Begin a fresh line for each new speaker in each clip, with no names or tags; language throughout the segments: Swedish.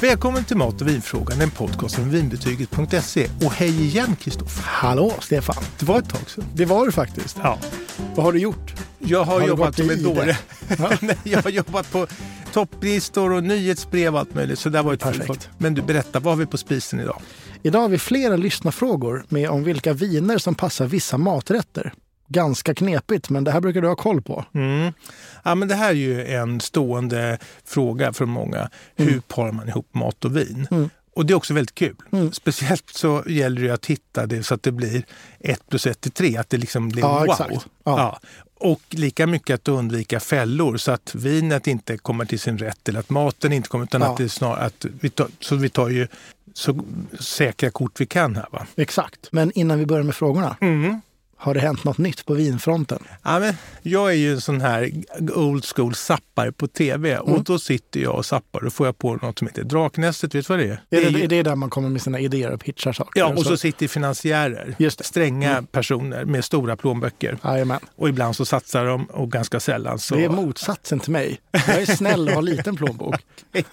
Välkommen till Mat och vinfrågan, en podcast från vinbetyget.se. Och hej igen Kristoffer.
Hallå Stefan!
Det var ett tag sedan.
Det var du faktiskt.
Ja.
Vad har du gjort?
Jag har,
Har du
jobbat
gått
som
i
en
det?
dåre.
Ja.
Nej, jag har jobbat på topplistor och nyhetsbrev och allt möjligt. Så det har varit
Perfekt.
fullt. Men du, berätta, vad har vi på spisen idag?
Idag har vi flera lyssnarfrågor med om vilka viner som passar vissa maträtter. Ganska knepigt, men det här brukar du ha koll på.
Mm. Ja, men det här är ju en stående fråga för många. Hur parar man ihop mat och vin?
Mm.
Och det är också väldigt kul.
Mm.
Speciellt så gäller det att hitta det så att det blir ett plus ett är tre, att det liksom blir
Ja,
wow.
exakt.
Ja.
Ja.
Och lika mycket att undvika fällor så att vinet inte kommer till sin rätt eller att maten inte kommer. Utan
Ja.
att det är snar, att vi tar, så vi tar ju så säkra kort vi kan här. Va?
Exakt. Men innan vi börjar med frågorna,
Mm.
har det hänt något nytt på vinfronten?
Ja, men jag är ju en sån här old school zappare på tv
Mm.
och då sitter jag och zappar och får jag på något som heter Draknästet. Vet du vad det är?
Är det,
ju-
är det där man kommer med sina idéer och pitchar saker?
ja, och så sitter finansiärer,
Just det. Mm.
stränga personer med stora plånböcker.
Jajamän.
Och ibland så satsar de och ganska sällan så...
Det är motsatsen till mig. Jag är snäll och har liten plånbok.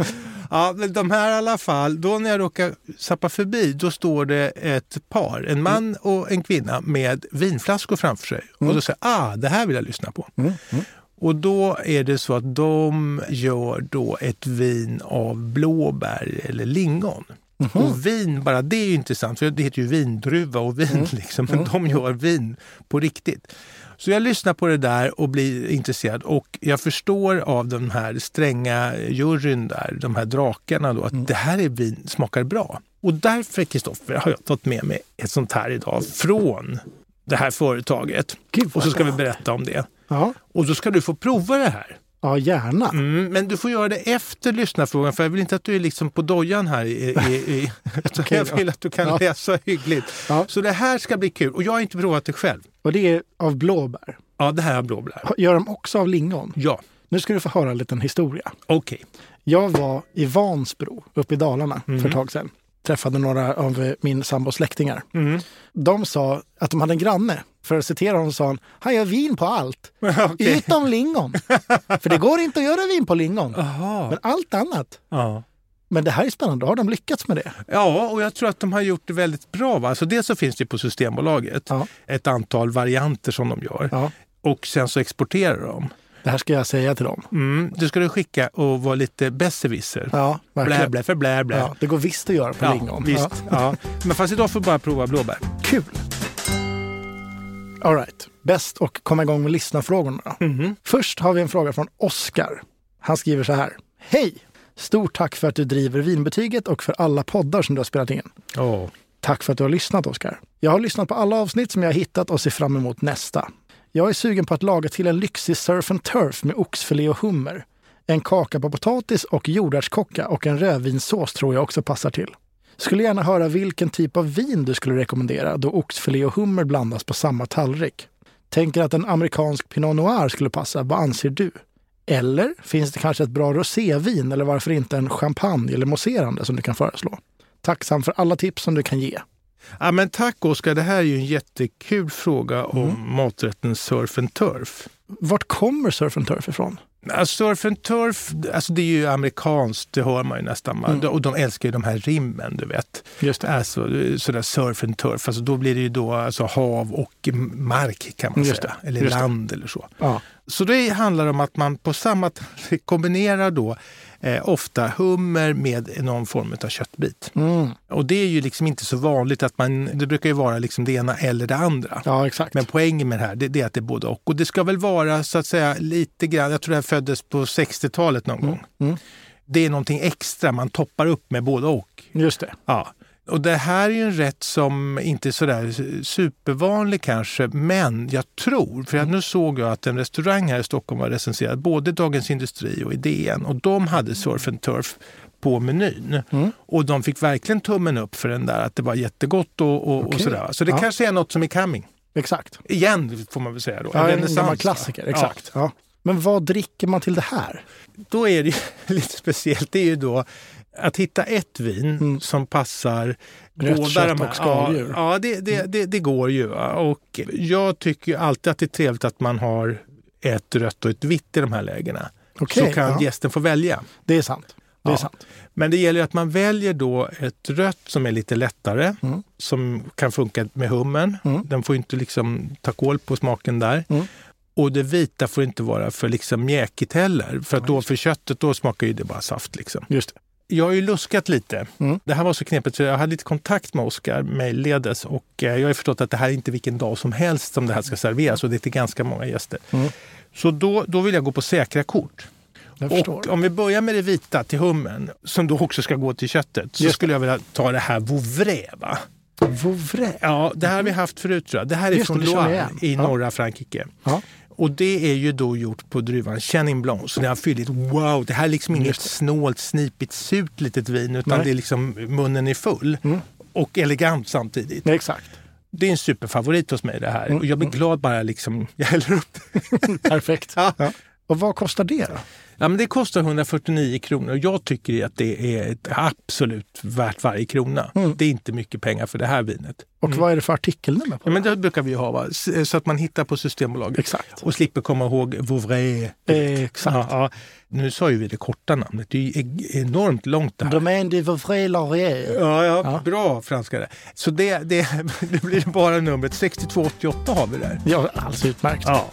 Ja, men de här i alla fall, då när jag råkar sappa förbi, då står det ett par, en man
Mm.
och en kvinna med vinflaskor framför sig. Och då säger jag, ah, det här vill jag lyssna på. Och då är det så att de gör då ett vin av blåbär eller lingon. Och vin, bara det är ju intressant, för det heter ju vindruva och vin liksom, men de gör vin på riktigt. Så jag lyssnar på det där och blir intresserad och jag förstår av den här stränga juryn där, de här drakarna då, att det här är vin smakar bra. Och därför, Kristoffer, har jag tagit med mig ett sånt här idag från det här företaget.
Gud, vad
Och så ska vi
bra.
berätta om det.
Ja,
Och då ska du få prova det här.
ja gärna.
Mm, men du får göra det efter lyssnarfrågan för jag vill inte att du är liksom på dojan här. I, i, i, utan
Okej,
jag vill att du kan
Ja.
läsa hyggligt.
Ja.
Så det här ska bli kul. Och jag har inte provat det själv.
Och det är av blåbär.
Ja, det här har blåbär.
Gör de också av lingon?
Ja,
Nu ska du få höra en liten historia.
okej.
Jag var i Vansbro uppe i Dalarna för ett tag sedan. Träffade några av eh, min sambos släktingar.
Mm.
De sa att de hade en granne. För att citera honom sa han, han gör vin på allt.
Okej.
Utom lingon. för det går inte att göra vin på lingon.
Jaha.
Men allt annat.
Ja.
Men det här är spännande, har de lyckats med det?
ja, och jag tror att de har gjort det väldigt bra. Va? Alltså dels så finns det på Systembolaget
Ja.
ett antal varianter som de gör.
Ja.
Och sen så exporterar de.
Det här ska jag säga till dem.
Mm. Du ska du skicka och vara lite besserwisser.
Ja,
Blä,
verkligen.
blä, för blä, blä.
Ja, det går visst att göra på
Ja,
lingon. Ja.
visst. Ja. Men fast idag får vi bara prova blåbär.
Kul! All right. Bäst att komma igång med lyssnarfrågorna då. Först har vi en fråga från Oskar. Han skriver så här. Hej! Stort tack för att du driver vinbetyget och för alla poddar som du har spelat in.
Oh.
Tack för att du har lyssnat, Oskar. Jag har lyssnat på alla avsnitt som jag har hittat och ser fram emot nästa. Jag är sugen på att laga till en lyxig surf and turf med oxfilé och hummer. En kaka på potatis och jordärtskocka och en rödvinssås tror jag också passar till. Skulle gärna höra vilken typ av vin du skulle rekommendera då oxfilé och hummer blandas på samma tallrik. Tänker att en amerikansk pinot noir skulle passa, vad anser du? Eller finns det kanske ett bra rosévin eller varför inte en champagne eller mousserande som du kan föreslå? Tacksam för alla tips som du kan ge.
Ja, men tack Oskar, det här är ju en jättekul fråga
Mm.
om maträtten surf and turf.
Vart kommer surf and turf ifrån?
Ja, Surf and turf, alltså det är ju amerikanskt, det hör man ju nästan. va?
Mm.
Och de älskar ju de här rimmen, du vet.
Just
Alltså, sådär surf and turf, alltså, då blir det ju då alltså, hav och mark kan man
Just
säga.
det,
Eller
just det.
land eller så.
Ja.
Så det handlar om att man på samma tallrik kombinerar då eh, ofta hummer med någon form av köttbit.
Mm.
Och det är ju liksom inte så vanligt att man, det brukar ju vara liksom det ena eller det andra.
ja, exakt.
Men poängen med det här, det, det är att det är både och. Och det ska väl vara så att säga lite grann, jag tror det här föddes på 60-talet någon gång.
mm.
Det är någonting extra man toppar upp med både och.
Just det.
Ja. Och det här är ju en rätt som inte är sådär supervanlig kanske, men jag tror, för jag, nu såg jag att en restaurang här i Stockholm var recenserad, både Dagens Industri och Idén, och de hade surf and turf på menyn.
Mm.
Och de fick verkligen tummen upp för den där, att det var jättegott och, och, och
Okej.
sådär. Så det
Ja.
kanske är något som är coming.
Exakt.
Igen, får man väl säga då.
Ja, en
renässans, va?
gammal klassiker.
Ja.
Exakt. Ja. Men vad dricker man till det här?
då är det ju lite speciellt. Det är ju då att hitta ett vin som passar
Rätt Mm. kött
de här-
och skaldjur. Mm.
Ja, ja det, det, det, det går ju. va. Och jag tycker ju alltid att det är trevligt att man har ett rött och ett vitt i de här lägena.
Okej,
Så kan
ja.
gästen få välja.
Det är sant. Det är
Ja.
sant.
Men det gäller att man väljer då ett rött som är lite lättare,
Mm.
som kan funka med hummen.
Mm.
Den får inte liksom ta kål på smaken där.
Mm.
Och det vita får inte vara för liksom mjäkigt heller, för att
Ja,
då
just
för köttet då smakar ju det bara saft. Liksom.
Just det.
Jag har ju luskat lite.
Mm.
Det här var så knepigt så jag hade lite kontakt med Oskar mejlledes och eh, jag har ju förstått att det här är inte vilken dag som helst som det här ska serveras och det är till ganska många gäster.
Mm.
Så då, då vill jag gå på säkra kort.
Jag
Och
förstår.
om vi börjar med det vita till hummen, som då också ska gå till köttet, så
Just det.
skulle jag vilja ta det här Vouvray. Va?
Vouvray.
Ja, det här har vi haft förut tror jag. Det här är
Just det,
från
det känner jag
Loire
igen.
i
Ja.
norra Frankrike.
Ja.
Och det är ju då gjort på druvan Chenin Blanc. Så den har fylligt. Wow, det här är liksom inget
Just det.
snålt, snipigt, surt litet vin utan
Nej.
det är liksom munnen är full.
Mm.
Och elegant samtidigt.
Nej, exakt.
Det är en superfavorit hos mig det här.
Mm.
Och jag blir glad bara liksom, jag häller upp.
Perfekt.
Ja.
Och vad kostar det då?
Ja, men det kostar 149 kronor och jag tycker ju att det är ett absolut värt varje krona.
Mm.
Det är inte mycket pengar för det här vinet.
Och vad är det för artikelnummer på
Ja,
det?
men det brukar vi ju ha, va? S- eh, så att man hittar på Systembolaget
Exakt.
och slipper komma ihåg Vouvray.
Exakt.
Ja, ja. Nu sa ju vi det korta namnet, det är ju e- enormt långt det här.
Domaine du Vouvray Laurier.
Ja, ja,
Ja.
bra franska där. Så det, det, det blir bara numret 6288 har vi där.
Ja, alldeles utmärkt.
Ja.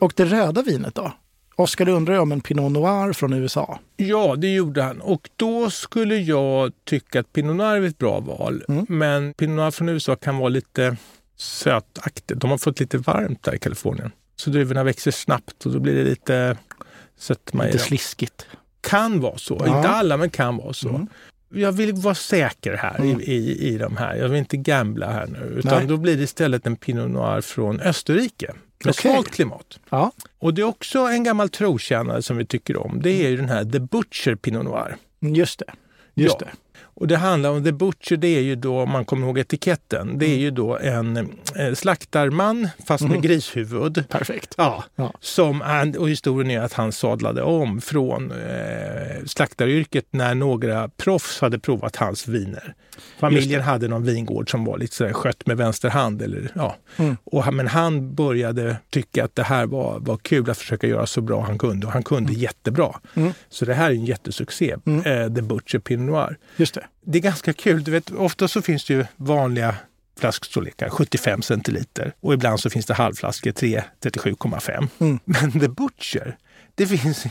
Och det röda vinet då? Oskar undrar ju om en Pinot Noir från USA.
Ja, det gjorde han. Och då skulle jag tycka att Pinot Noir är ett bra val.
Mm.
Men Pinot Noir från USA kan vara lite sötaktigt. De har fått lite varmt där i Kalifornien. Så druvorna växer snabbt och då blir det lite sötma i
Lite
dem.
sliskigt.
Kan vara så.
Ja.
Inte alla, men kan vara så.
Mm.
Jag vill vara säker här
Mm.
i, i, i de här. Jag vill inte gambla här nu. Utan
Nej.
då blir det istället en Pinot Noir från Österrike. Med
Okej.
svalt klimat.
Ja.
Och det är också en gammal trotjänare som vi tycker om. Det är ju den här The Butcher Pinot Noir.
Just det. Just
Ja.
det.
Och det handlar om The Butcher, det är ju då, om man kommer ihåg etiketten,
Mm.
det är ju då en eh, slaktarman fast med grishuvud.
Perfekt.
Ja.
Ja.
Som han, och historien är att han sadlade om från eh, slaktaryrket när några proffs hade provat hans viner. Familjen hade någon vingård som var lite sådär skött med vänster hand. Eller, ja.
Mm.
och, han- men han började tycka att det här var, var kul att försöka göra så bra han kunde och han kunde jättebra.
Mm.
Så det här är en jättesuccé,
Mm.
eh, The Butcher Pinot Noir
Just det.
det är ganska kul. Du vet, ofta så finns det ju vanliga flaskstorlekar, 75 centiliter. Och ibland så finns det halvflaskor, 3, 37,5.
Mm.
Men The Butcher, det finns i,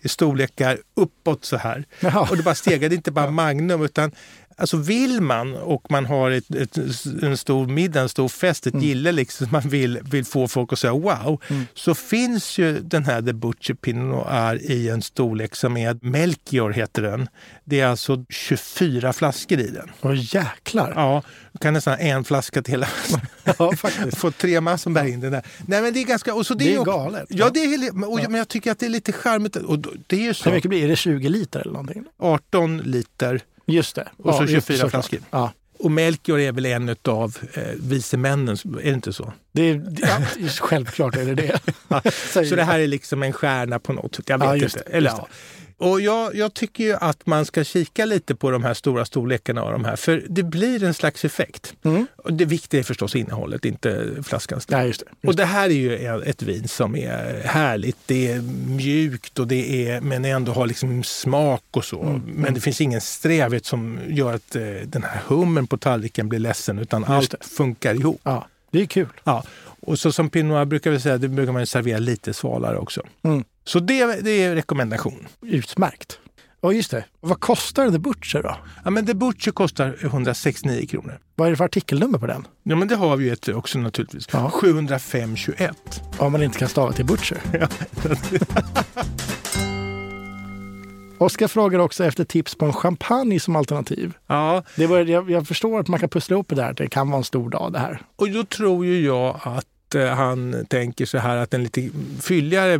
i storlekar uppåt så här.
Jaha.
Och det bara stegar, det är inte bara Magnum utan Alltså vill man och man har ett, ett, en stor middag, en stor fest, ett gille, liksom, man vill, vill få folk att säga wow, så finns ju den här The Butcher Pinot Noir i en storlek som är, Melchior heter den. Det är alltså 24 flaskor i den.
Åh jäklar.
Ja, du kan nästan en flaska till hela
Ja, faktiskt.
få tre man som bär in den där. Nej men det är ganska... Och så det,
Det är
ju också-
galet.
Ja, det är, helt- men- och, men jag tycker att det är lite charmigt. Och då- det är ju
Hur
så,
mycket blir det? 20 liter eller någonting?
18 liter
Just det.
Och så
just
24
såklart.
flaskor.
Ja.
Och Melchior är väl en av eh, vicemännen, är det inte så?
Det är, ja, självklart är det det. Säger
Så det här är liksom en stjärna på något sätt, jag vet
Ja, just
inte.
det,
Eller,
just
ja. Och jag, jag tycker ju att man ska kika lite på de här stora storlekarna av de här, för det blir en slags effekt.
Mm.
Och det viktiga är förstås innehållet, inte flaskans
jag. Nej, just det.
Och det här är ju ett vin som är härligt. Det är mjukt och det är, men ändå har liksom smak och så. Men det finns ingen strävhet som gör att eh, den här hummen på tallriken blir ledsen utan allt funkar ihop.
Ja, det är kul.
Ja. Och så som Pinot Noir brukar vi säga, det brukar man ju servera lite svalare också.
Mm.
Så det, det är rekommendation.
Utmärkt. Ja, just det. Vad kostar The Butcher då?
Ja, men The Butcher kostar 169 kronor.
Vad är det för artikelnummer på den?
Ja, men det har vi ju ett också naturligtvis.
Ja.
705,21.
Om man inte kan stava till Butcher. Oskar frågar också efter tips på en champagne som alternativ.
Ja,
Det var, jag, jag förstår att man kan pussla ihop det där. Det kan vara en stor dag det här.
Och då tror ju jag att eh, han tänker så här att en lite fylligare,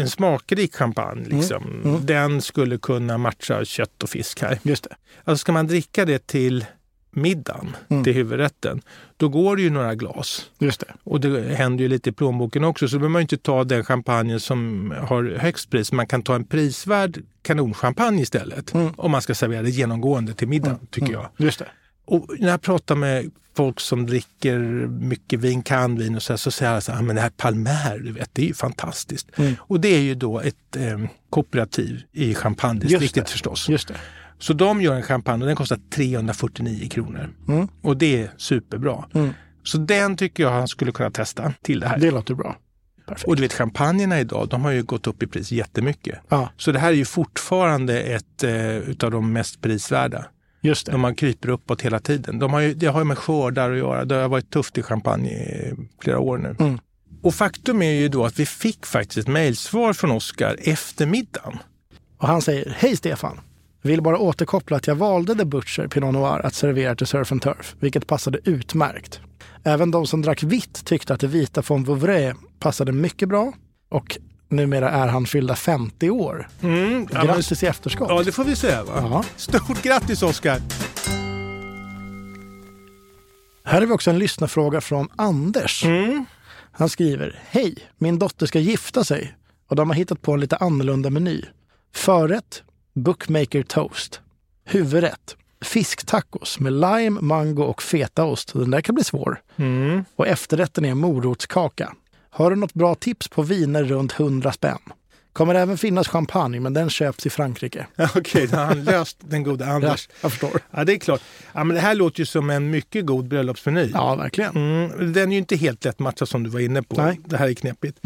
en smakrik champagne,
Mm.
liksom, den skulle kunna matcha kött och fisk här.
Just det.
Alltså ska man dricka det till middagen,
Mm.
till huvudrätten, då går det ju några glas.
Just det.
Och det händer ju lite i plånboken också, så behöver man ju inte ta den champagne som har högst pris. Man kan ta en prisvärd kanonchampagne istället,
Mm.
om man ska servera det genomgående till middagen, tycker jag.
Just det.
Och när jag pratar med folk som dricker mycket vin, kan vin och så, här, så säger alla så här, "Ah, men det här Palmer, du vet, det är ju fantastiskt.
Mm.
Och det är ju då ett eh, kooperativ i
Just
champagnedistriktet
det.
förstås.
Just det.
Så de gör en champagne och den kostar 349 kronor.
Mm.
Och det är superbra.
Mm.
Så den tycker jag han skulle kunna testa till det här.
Det låter bra. Perfekt.
Och du vet champagnerna idag, de har ju gått upp i pris jättemycket.
Ja,
Så det här är ju fortfarande ett eh, utav de mest prisvärda.
just
De
det.
man kryper uppåt hela tiden. De har ju, det har ju med skördar att göra. Det har varit tufft i champagne i flera år nu.
Mm.
Och faktum är ju då att vi fick faktiskt ett mejlsvar från Oskar eftermiddagen.
Och han säger, hej Stefan. Vill bara återkoppla att jag valde The Butcher Pinot Noir att servera till Surf and Turf, vilket passade utmärkt. Även de som drack vitt tyckte att det vita från Vouvray passade mycket bra och numera är han fyllda 50 år.
Mm, ja, men,
Grattis i efterskott.
ja, det får vi säga va?
Ja.
Stort grattis Oskar!
Här har vi också en lyssnarfråga från Anders.
Mm.
Han skriver, hej, min dotter ska gifta sig och de har hittat på en lite annorlunda meny. Förrätt, bookmaker toast. Huvudrätt, fisktacos med lime, mango och fetaost. Den där kan bli svår.
Mm.
Och efterrätten är morotskaka. Har du något bra tips på viner runt 100 spänn? Kommer även finnas champagne, men den köps i Frankrike.
Okej, då har han löst den goda Anders.
Jag förstår.
Ja, det är klart. Ja, men det här låter ju som en mycket god bröllopsmeny.
Ja, verkligen.
Mm, den är ju inte helt lätt matchad som du var inne på.
Nej.
Det här är knepigt.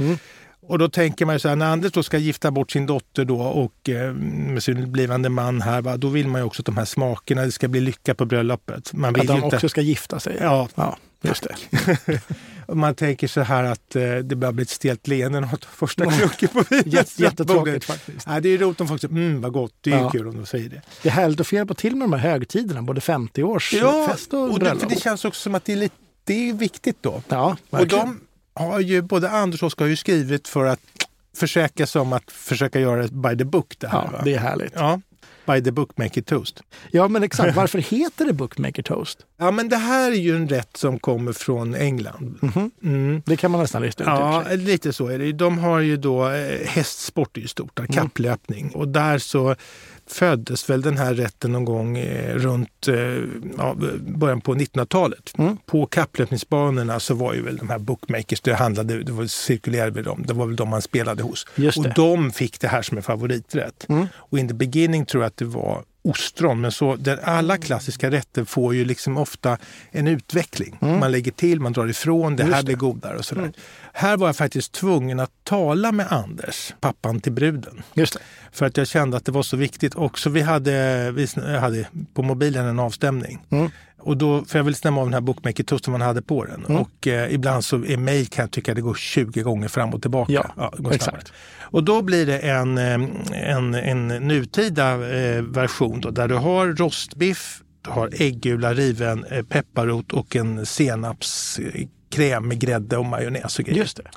Och då tänker man ju så här, när Anders då ska gifta bort sin dotter då och eh, med sin blivande man här, va, då vill man ju också att de här smakerna, det ska bli lycka på bröllopet. Man vill
Att
ju
de
inte...
också ska gifta sig.
Ja,
ja just det.
man tänker så här att eh, det börjar bli ett stelt leende när man tar första klunken på vinet.
Mm. Jätte, jättetråkigt faktiskt.
Ja, det är ju roligt om folk säger mm, vad gott, det är ju
Ja.
kul om de säger det.
Det är härligt att få hjälpa till med de här högtiderna, både 50-årsfest och
och det, för
bröllop.
det känns också som att det är, lite, det är viktigt då.
Ja,
Och
verkligen.
de har ju, både Anders och Oskar har ju skrivit för att försäkra sig om att försöka göra det by the book det här.
ja,
va?
det är härligt.
ja, by the book make it toast.
Ja, men exakt. Varför heter det Bookmaker Toast?
Ja, men det här är ju en rätt som kommer från England. Mm.
Det kan man nästan lista ut. i och för
Ja,
sig.
lite så är det. ju. De har ju då, eh, hästsport är ju stort, där, kapplöpning. Och där så föddes väl den här rätten någon gång eh, runt eh, ja, början på 1900-talet. På kapplöpningsbanorna så var ju väl de här bookmakers, det handlade, det var, cirkulerade väl dem, det var väl de man spelade hos.
Just
och
det.
de fick det här som en favoriträtt. Och in the beginning tror jag att det var ostron, men så, där alla klassiska rätter får ju liksom ofta en utveckling. Man lägger till, man drar ifrån, det
Just
här blir godare och sådär. Här var jag faktiskt tvungen att tala med Anders, pappan till bruden.
Just det.
För att jag kände att det var så viktigt. Och så vi hade, vi sn- jag hade på mobilen en avstämning.
Mm.
Och då, för jag ville stämma av den här bookmaker-toasten man hade på den.
Mm.
Och eh, ibland så är mig kan jag tycka det går 20 gånger fram och tillbaka.
Ja,
det går snabbare.
exakt.
Och då blir det en, eh, en, en nutida eh, version då, där du har rostbiff, du har äggula, riven eh, pepparrot och en senapskräm med grädde och majonnäs och grejer.
Just det.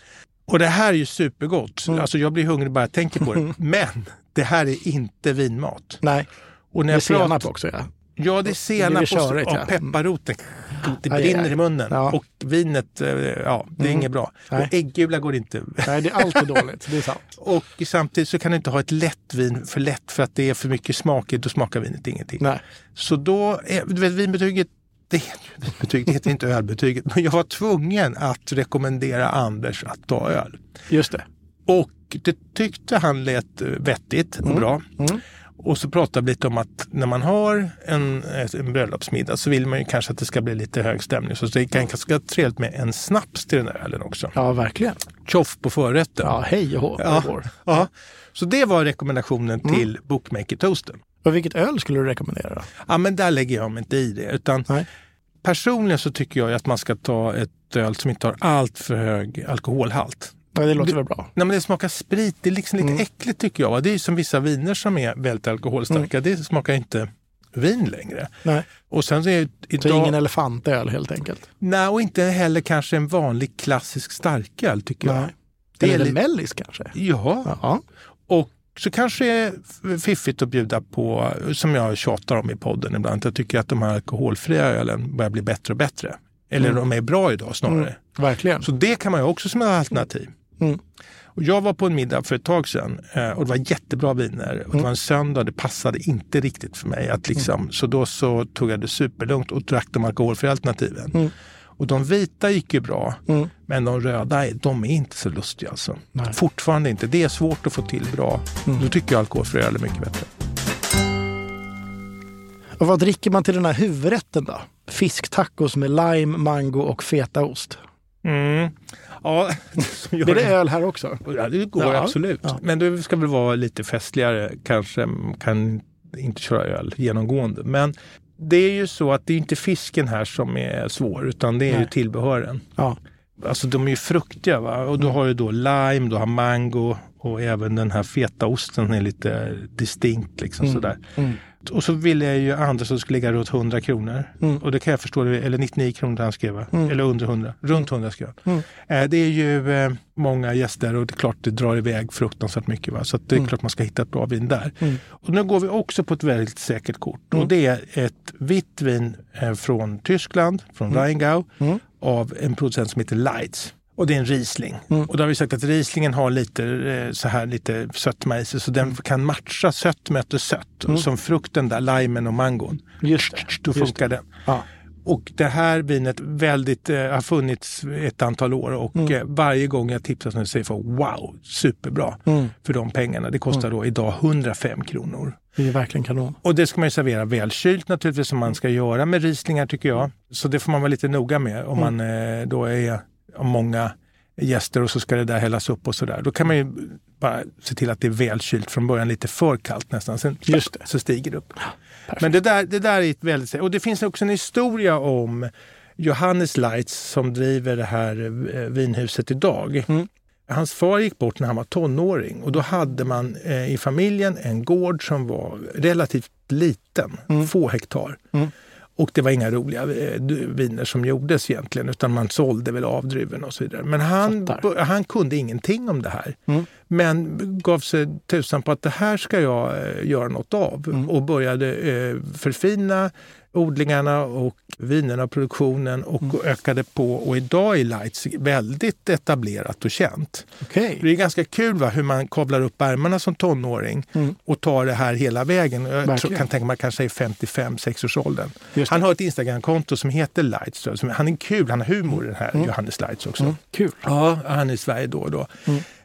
Och det här är ju supergott.
Mm.
Alltså jag blir hungrig bara jag tänker på det. Men det här är inte vinmat.
Nej,
Och när
det är
jag pratar-
senap också. Ja.
Ja, det är senap och,
blir
så-
körigt,
och
ja.
pepparroten. Det
Aj,
brinner
aj, aj.
i munnen.
Ja. Mm.
Och vinet, eh, ja, det är inget bra.
Nej.
Och äggula går inte.
Nej, det är allt för dåligt. Det är sant.
Och samtidigt så kan du inte ha ett lätt vin för lätt för att det är för mycket smaker. Då smakar vinet ingenting.
Nej.
Så då, är- du vet, vinbetyget, det, heter ju vinbetyg, det heter inte ölbetyget, men jag var tvungen att rekommendera Anders att ta öl.
Just det.
Och det tyckte han lät eh, vettigt
Mm.
och bra. Och så pratade vi lite om att när man har en, eh, en bröllopsmiddag så vill man ju kanske att det ska bli lite hög stämning. Så
Mm.
det kan kanske vara trevligt med en snaps till den där ölen också.
Ja, verkligen.
Tjoff på förrätten.
Ja, hej och hå.
Ja. Ja. Så det var rekommendationen
Mm.
till Bookmaker Toasten.
Och vilket öl skulle du rekommendera?
Ja, men där lägger jag mig inte i det. Utan
Nej.
personligen så tycker jag ju att man ska ta ett öl som inte har allt för hög alkoholhalt.
Ja, det låter väl bra.
Nej, men det smakar sprit. Det är liksom
Mm.
lite äckligt tycker jag. va? Det är ju som vissa viner som är väldigt alkoholstarka. Det smakar inte vin längre.
Mm. Nej.
Och sen så är ju
Så
idag...
ingen elefantöl helt enkelt.
Nej, och inte heller kanske en vanlig klassisk starköl tycker jag.
Nej.
Det är
Eller
li-
mellis kanske?
Ja,
Ja.
och så kanske är f- fiffigt att bjuda på, som jag tjatar om i podden ibland, att jag tycker att de här alkoholfria ölen börjar bli
Mm.
bättre och bättre. Eller de är bra idag snarare.
Verkligen.
Så det kan man ju också som ett alternativ.
Mm.
Och jag var på en middag för ett tag sedan eh, och det var jättebra viner.
Mm.
Och det var en söndag, det passade inte riktigt för mig. Att liksom, Så då så tog jag det superlugnt och drack de alkoholfria alternativen.
Mm.
Och de vita gick ju bra, men de röda de är inte så lustiga. Alltså.
Nej. Mm.
Fortfarande inte. Det är svårt att få till bra. Då tycker jag alkoholfri öl är mycket bättre.
Och vad dricker man till den här huvudrätten då? Fisktacos med lime, mango och fetaost.
Mm. Ja, som gör
Blir det
det-
öl här också?
Ja, det går
Ja.
absolut.
Ja.
Men du ska väl vara lite festligare. Kanske mm, kan inte köra öl genomgående. Men det är ju så att det är inte fisken här som är svår, utan det är ju
Nej.
tillbehören.
Ja.
Alltså de är ju fruktiga va? och du har ju då lime, du har mango och även den här fetaosten är lite distinkt liksom sådär. Och så ville jag ju Anders som skulle ligga runt 100 kronor. Och det kan jag förstå, eller 99 kronor han skrev, va? eller under 100, runt 100 skrev han. Eh, Det är ju eh, många gäster och det är klart det drar iväg fruktansvärt mycket. Va? Så att det är klart man ska hitta ett bra vin där. Och nu går vi också på ett väldigt säkert kort. Och det är ett vitt vin eh, från Tyskland, från Rheingau, av en producent som heter Lights. Och det är en Riesling.
Mm.
Och då har vi sagt att Rieslingen har lite, eh, så här, lite sötma i sig så
Mm.
den kan matcha sött möter sött. Och Som frukten där, limen och mangon.
Just det.
Då funkar den.
Ja.
Och det här vinet väldigt, eh, har funnits ett antal år och
Mm.
eh, varje gång jag tipsar så säger folk wow, superbra
Mm.
för de pengarna. Det kostar då idag 105 kronor.
Det är ju verkligen kanon.
Och det ska man ju servera välkylt naturligtvis som man ska göra med rislingar tycker jag. Så det får man vara lite noga med om man
Mm.
eh, då är om många gäster och så ska det där hällas upp och sådär. Då kan man ju bara se till att det är välkylt från början, lite för kallt nästan. Sen
Just det.
så stiger det upp. Men det där, det där är ett väldigt... Och det finns också en historia om Johannes Leitz som driver det här eh, vinhuset idag. Hans far gick bort när han var tonåring och då hade man eh, i familjen en gård som var relativt liten, få hektar. Och det var inga roliga eh, du- viner som gjordes egentligen utan man sålde väl av druvorna och så vidare. Men han,
Fattar.
bo- han kunde ingenting om det här.
Mm.
Men gav sig tusan på att det här ska jag eh, göra något av. Och började eh, förfina odlingarna och vinerna och produktionen och ökade på. Och idag är Lights väldigt etablerat och känt.
Okej.
Det är ganska kul va, hur man kavlar upp ärmarna som tonåring och tar det här hela vägen. Jag tror,
Mm. Verkligen.
kan tänka mig kanske i 55-6 års åldern.
Just det.
Han har ett Instagramkonto som heter Lights. då, som- Han är kul, han har humor den här
Mm.
Johannes Lights också.
Kul.
Ja, han är i Sverige då och då.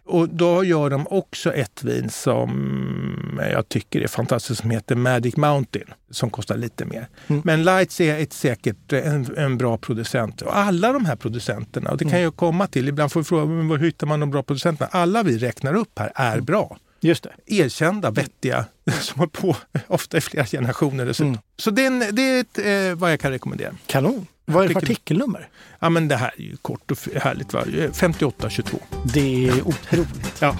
Och då gör de också ett vin som jag tycker är fantastiskt som heter Magic Mountain som kostar lite mer. Men Lights är ett säkert en, en bra producent. Och alla de här producenterna, och det kan jag komma till, ibland får vi frågan "Men var hittar man de bra producenterna? Alla vi räknar upp här är bra.
Just det.
Erkända, vettiga, som har på ofta i flera generationer dessutom. Så det är, en, det är ett, eh, vad jag kan rekommendera.
Kanon. Vad är det för
Tycker-
artikelnummer?
Ja, men det här är ju kort och f- härligt. va? 5822.
Det är otroligt.
Ja.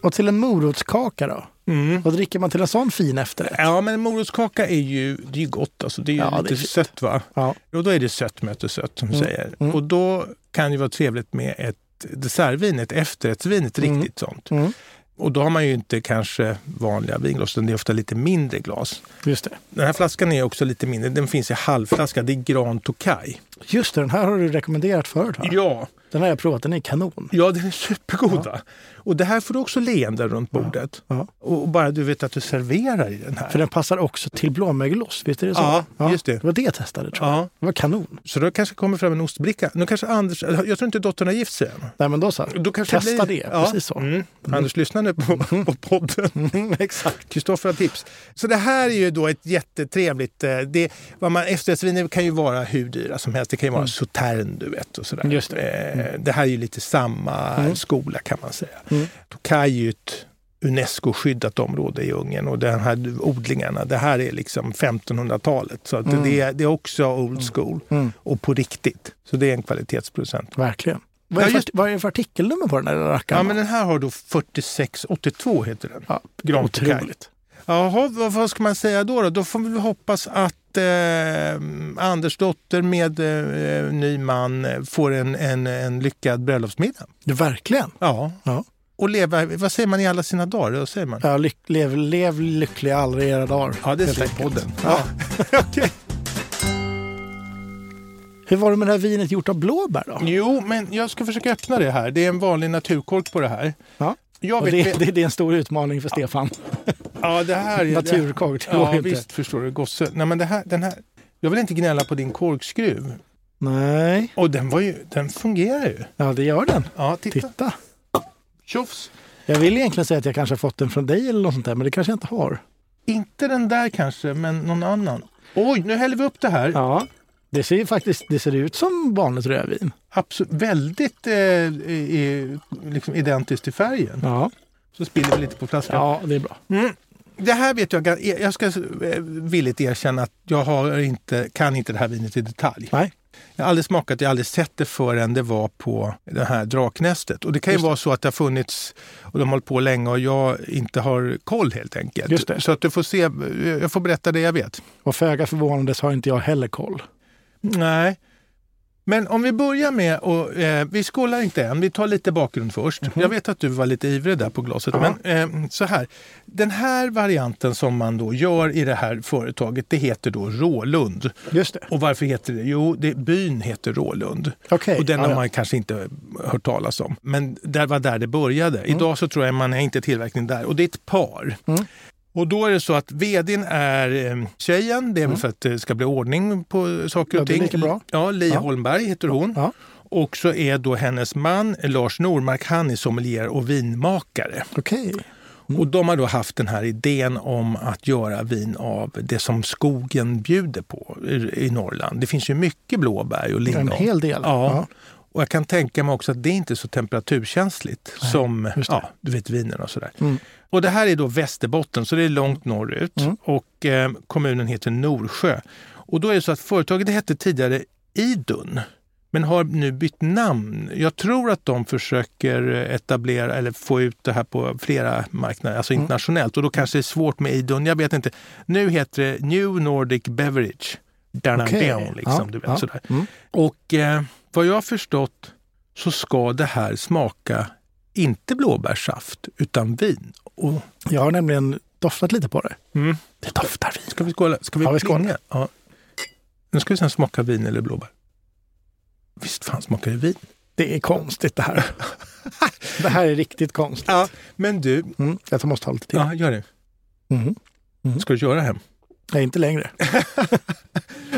Och till en morotskaka då?
Mm.
Vad dricker man till en sån fin efterrätt?
Ja, men morotskaka är ju, det är ju gott. Alltså. Det är ju
Ja, det är
lite
fint. Mm.
sött va?
Ja.
Och då är det sött möter sött som du säger. Och då kan det vara trevligt med ett dessertvin, ett efterrättsvin, ett riktigt sånt.
Mm.
Och då har man ju inte kanske vanliga vinglas, utan det är ofta lite mindre glas.
Just det.
Den här flaskan är också lite mindre, den finns i halvflaska, det är Grand Tokaj.
Just det, den här har du rekommenderat förut. va?
Ja,
Den här har jag provat, den är kanon.
ja den är supergod. va? Och det här får du också leende runt bordet.
Ja.
Och och bara du vet att du serverar i den här.
För den passar också till blåmögelost, visst är det så?
Ja, just det.
Det var det jag testade tror jag.
Ja,
Det var kanon.
så då kanske kommer fram en ostbricka. Nu kanske Anders, jag tror inte dottern har gift sig än.
Nej men då så.
Då kanske
Testa
blir-
det,
Ja.
precis Mm. så.
Mm. Anders, lyssna nu på, på podden.
Exakt.
Kristoffer har tips. Så det här är ju då ett jättetrevligt... eh, Det, vad man, efterrättsviner kan ju vara hur dyra som helst. Det kan ju vara sautern, du vet. Och sådär.
Mm. Just det. Mm.
Eh, det här är ju lite samma skola kan man säga. Tokaj är ju ett Unesco-skyddat område i Ungern och de här odlingarna, det här är liksom 1500-talet. Så
Mm.
att det, det är också old school och på riktigt. Så det är en kvalitetsproducent.
Verkligen. Vad är,
Ja,
för,
just-
vad är det för artikelnummer på den här rackaren?
Ja,
då?
men den här har då 4682 heter den.
Ja,
Gran Tokaj.
otroligt.
Jaha, vad, vad ska man säga då? Då, då får vi väl hoppas att eh, Anders dotter med eh, ny man eh, får en, en, en lyckad bröllopsmiddag.
Verkligen.
Ja.
Ja.
Och leva, vad säger man i alla sina dagar? Vad säger man?
Ja, lyck, lev, lev lyckliga alla era dagar.
Ja, det är
helt
slut
enkelt.
podden.
Ja.
Ja. Okej.
Hur var det med det här vinet gjort av blåbär då?
Jo, men jag ska försöka öppna det här. Det är en vanlig naturkork på det här.
Ja.
Jag
Och
vet,
det, det, det är en stor utmaning för Stefan.
ja, det här är...
Naturkork, det går
Ja,
ju inte.
visst förstår du. Gosse. Nej, men det här, den här... Jag vill inte gnälla på din korkskruv.
Nej,
Och den, var ju, den fungerar ju.
ja det gör den.
Ja, titta.
Titta.
Tjofs.
Jag vill egentligen säga att jag kanske har fått den från dig eller något sånt där, men det kanske jag inte har.
Inte den där kanske, men någon annan. Oj, nu häller vi upp det här.
Ja, det ser ju faktiskt det ser ut som vanligt rödvin.
Absolut, väldigt eh, eh, liksom identiskt till färgen.
Ja,
Så spiller vi lite på flaskan.
ja det är bra.
Mm. Det här vet jag, gan- jag ska eh, villigt erkänna att jag har inte, kan inte det här vinet i detalj.
Nej.
Jag har aldrig smakat, jag har aldrig sett det förrän det var på det här draknästet. Och det kan ju
Just det.
vara så att det har funnits och de har hållit på länge och jag inte har koll helt enkelt.
Just det.
Så att du får se, eh, jag får berätta det jag vet.
Och föga förvånandes har inte jag heller koll.
Nej. Men om vi börjar med, och, eh, vi skålar inte än, vi tar lite bakgrund först. Jag vet att du var lite ivrig där på glaset.
Ja.
Men eh, så här, den här varianten som man då gör i det här företaget, det heter då Rålund.
Just det.
Och varför heter det? Jo, det, byn heter Rålund.
Okej.
Och den
Ja,
har
ja.
man kanske inte hört talas om. Men det var där det började. Idag så tror jag man är inte tillverkning där. Och det är ett par.
Mm.
Och då är det så att vdn är eh, tjejen. Det är väl för att det ska bli ordning på saker
Mm. Ja,
och
det är
ting.
lika bra.
Ja, Li
Ja.
Holmberg heter hon.
Ja.
Och så är då hennes man eh, Lars Normark, han är sommelier och vinmakare.
Okej. Mm.
Och de har då haft den här idén om att göra vin av det som skogen bjuder på i, i Norrland. Det finns ju mycket blåbär och lingon.
En hel del.
Ja. Och jag kan tänka mig också att det inte är så temperaturkänsligt som
just det.
ja, du vet, vinerna och sådär.
Mm.
Och det här är då Västerbotten, så det är långt norrut.
Mm.
Och eh, kommunen heter Norsjö. Och då är det så att företaget hette tidigare Idun, men har nu bytt namn. Jag tror att de försöker etablera eller få ut det här på flera marknader,
Mm.
alltså internationellt. Och då kanske det är svårt med Idun, jag vet inte. Nu heter det New Nordic Beverage. Down
Okej.
down, liksom,
Ja,
du vet,
ja.
sådär.
Mm.
Och eh, vad jag har förstått så ska det här smaka inte blåbärssaft utan vin. Och,
Jag har nämligen doftat lite på det.
Mm.
Det doftar vin.
ska vi skåla? Ska vi
Ja, vi skålar.
plinga? Ja. Nu ska vi sen smaka vin eller blåbär. Visst fan smakar det vin?
Det är konstigt det här. det här är riktigt konstigt.
Ja, men du.
Mm. Jag måste ha lite till.
Ja, gör det.
Mhm.
Mm. Ska du köra hem?
Nej, inte längre.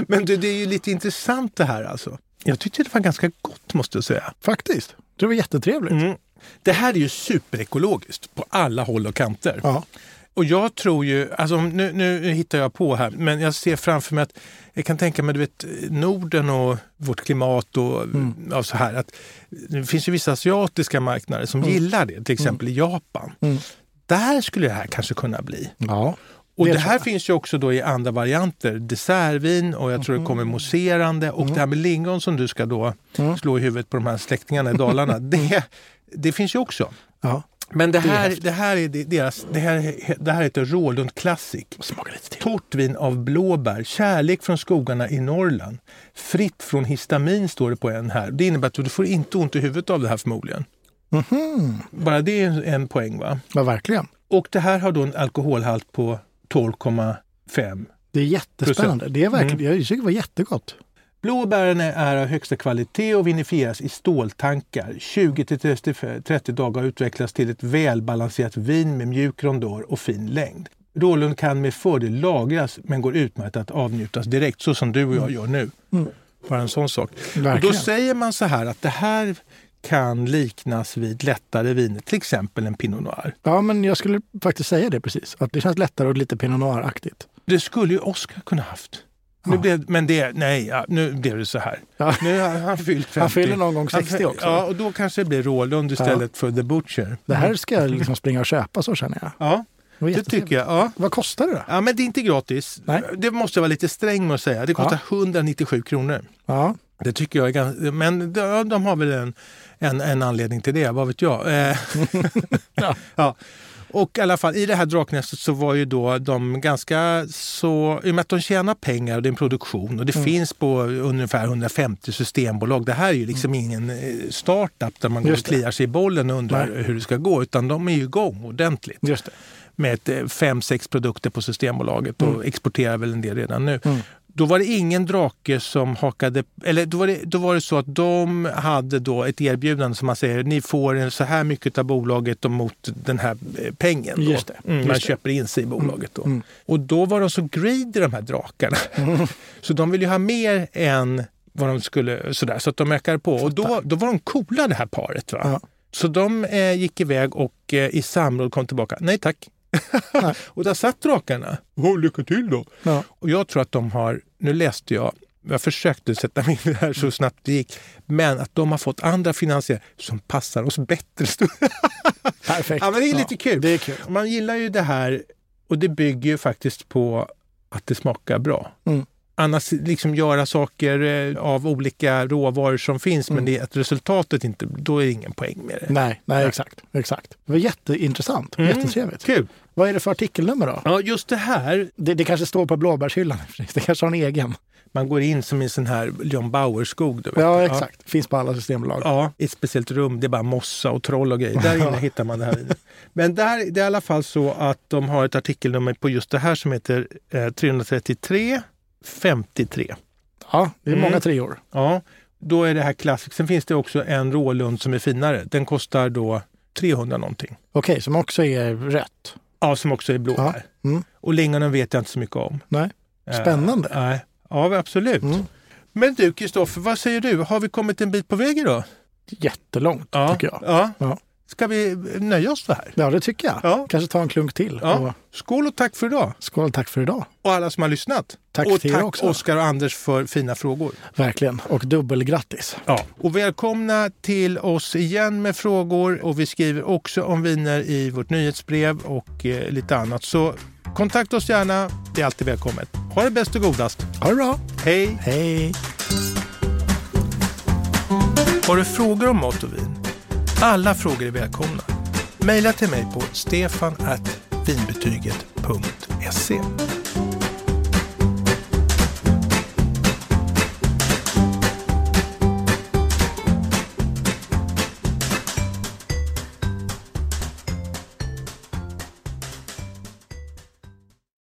Men du, det är ju lite intressant det här alltså. Jag tyckte det var ganska gott måste jag säga.
Faktiskt. Det var jättetrevligt.
Mm. Det här är ju superekologiskt på alla håll och kanter.
Ja.
Och jag tror ju, alltså om- nu, nu hittar jag på här, men jag ser framför mig att jag kan tänka mig du vet, Norden och vårt klimat och, ja, så här. Att det finns ju vissa asiatiska marknader som gillar det, till exempel i Japan. Där skulle det här kanske kunna bli.
ja.
Och
Det
det,
är så.
här finns ju också då i andra varianter. Dessertvin och jag tror
Mm.
det kommer mousserande. Och det här med lingon som du ska då
Mm.
slå i huvudet på de här släktingarna i Dalarna, det, det finns ju också.
ja.
Men det
är
här,
häftigt.
det här, är de- deras, det här, det här heter Rålund Classic.
Smaka lite till.
Torrt vin av blåbär, kärlek från skogarna i Norrland. Fritt från histamin står det på en här. Det innebär att du får inte ont i huvudet av det här förmodligen. Bara det är en poäng va?
Mhm. Ja, verkligen.
Och det här har då en alkoholhalt på 12,5.
Det är jättespännande. Det är verkligen,
Mm.
Jag tycker det var jättegott.
Blåbären är av högsta kvalitet och vinifieras i ståltankar. 20-30 dagar utvecklas till ett välbalanserat vin med mjuk rondör och fin längd. Rålund kan med fördel lagras men går utmärkt att avnjutas direkt så som du och jag gör nu. Bara en sån sak. Och då
Verkligen.
säger man så här att det här kan liknas vid lättare viner, till exempel en Pinot Noir.
Ja, men jag skulle faktiskt säga det precis. Att det känns lättare och lite Pinot Noir-aktigt.
Det skulle ju Oscar kunna haft. Nu blev, men det, nej, ja, nu blev det så här.
Ja.
Nu har han fyllt 50.
Han fyller någon gång
Han
60
fyll-
också.
Ja, och då kanske det blir Rålund istället för The Butcher.
Det här ska jag liksom springa och köpa, så känner jag.
Ja,
Det, var
det tycker jag. Ja.
Vad kostar det då?
ja, men det är inte gratis.
Nej.
Det måste jag vara lite sträng med att säga. Det kostar 197 kronor.
Ja,
Det tycker jag är ganska... Men de, de har väl en, en, en anledning till det, vad vet jag. Eh,
Ja.
ja. Och i alla fall, i det här draknästet så var ju då de ganska så... I och med att de tjänar pengar och det är en produktion och
Mm.
det finns på ungefär 150 systembolag. Det här är ju liksom ingen eh, startup där man går och
Mm. Just det.
kliar sig i bollen och undrar hur det ska gå. Utan de är ju igång ordentligt
just det. Mm.
med ett, eh, fem, sex produkter på Systembolaget och exporterar väl en del redan nu. Då var det ingen drake som hakade... Eller då var, det, då var det så att de hade då ett erbjudande som man säger, ni får en så här mycket av bolaget och mot den här eh, pengen. Då.
Just det,
Mm, man
just det. Mm,
köper in sig i bolaget då. Och då var de så greedy de här drakarna. Så de ville ju ha mer än vad de skulle, sådär, så att de ökade på. Och då, då var de coola det här paret. Va?
Ja.
Så de eh, gick iväg och eh, i samråd kom tillbaka. Nej tack.
Nej.
och där satt drakarna. Oh, lycka till då.
Ja.
Och jag tror att de har, nu läste jag, jag försökte sätta mig in i det här så snabbt det gick, men att de har fått andra finansiärer som passar oss bättre.
Perfekt.
ja, men det är lite kul.
Det är kul.
Man gillar ju det här och det bygger ju faktiskt på att det smakar bra.
Mm.
Annars liksom göra saker eh, av olika råvaror som finns
Mm.
men det, att resultatet inte, då är det ingen poäng med det.
Nej, nej, exakt. exakt. Det var jätteintressant.
Mm.
Jättetrevligt.
Kul!
Vad är det för artikelnummer då?
Ja, just det här.
Det, det kanske står på blåbärshyllan. Det kanske har en egen.
Man går in som i en sån här John Bauer-skog. du vet.
Ja, exakt. Finns på alla systembolag.
Ja, i ett speciellt rum. Det är bara mossa och troll och grejer. Där inne hittar man det här vinet. Men där, det är i alla fall så att de har ett artikelnummer på just det här som heter eh, 333 53.
Ja, det är
Mm.
många treor.
Ja, då är det här klassiskt. Sen finns det också en Rålund som är finare. Den kostar då 300 någonting.
Okej, som också är rött.
Ja, som också är blå
Ja.
här.
Mm.
Och lingonen vet jag inte så mycket om.
Nej.
Eh,
Spännande.
Nej. Ja, absolut.
Mm.
Men du Kristoffer, vad säger du? Har vi kommit en bit på väg idag?
Jättelångt,
Ja.
tycker jag.
Ja.
Ja.
Ska vi nöja oss så här?
Ja, det tycker jag.
Ja.
Kanske ta en klunk till.
Ja.
Och
Skål och tack för idag.
skål, tack för idag.
Och alla som har lyssnat.
Tack
och
till er
tack
också.
Oskar och Anders för fina frågor.
Verkligen. Och dubbelgrattis.
Ja. Och välkomna till oss igen med frågor. Och vi skriver också om viner i vårt nyhetsbrev och eh, lite annat. Så kontakta oss gärna. Det är alltid välkommet. Ha det bäst och godast.
Ha det bra.
Hej!
Hej.
Har du frågor om mat och vin? Alla frågor är välkomna. Maila till mig på stefanvinbetyget.se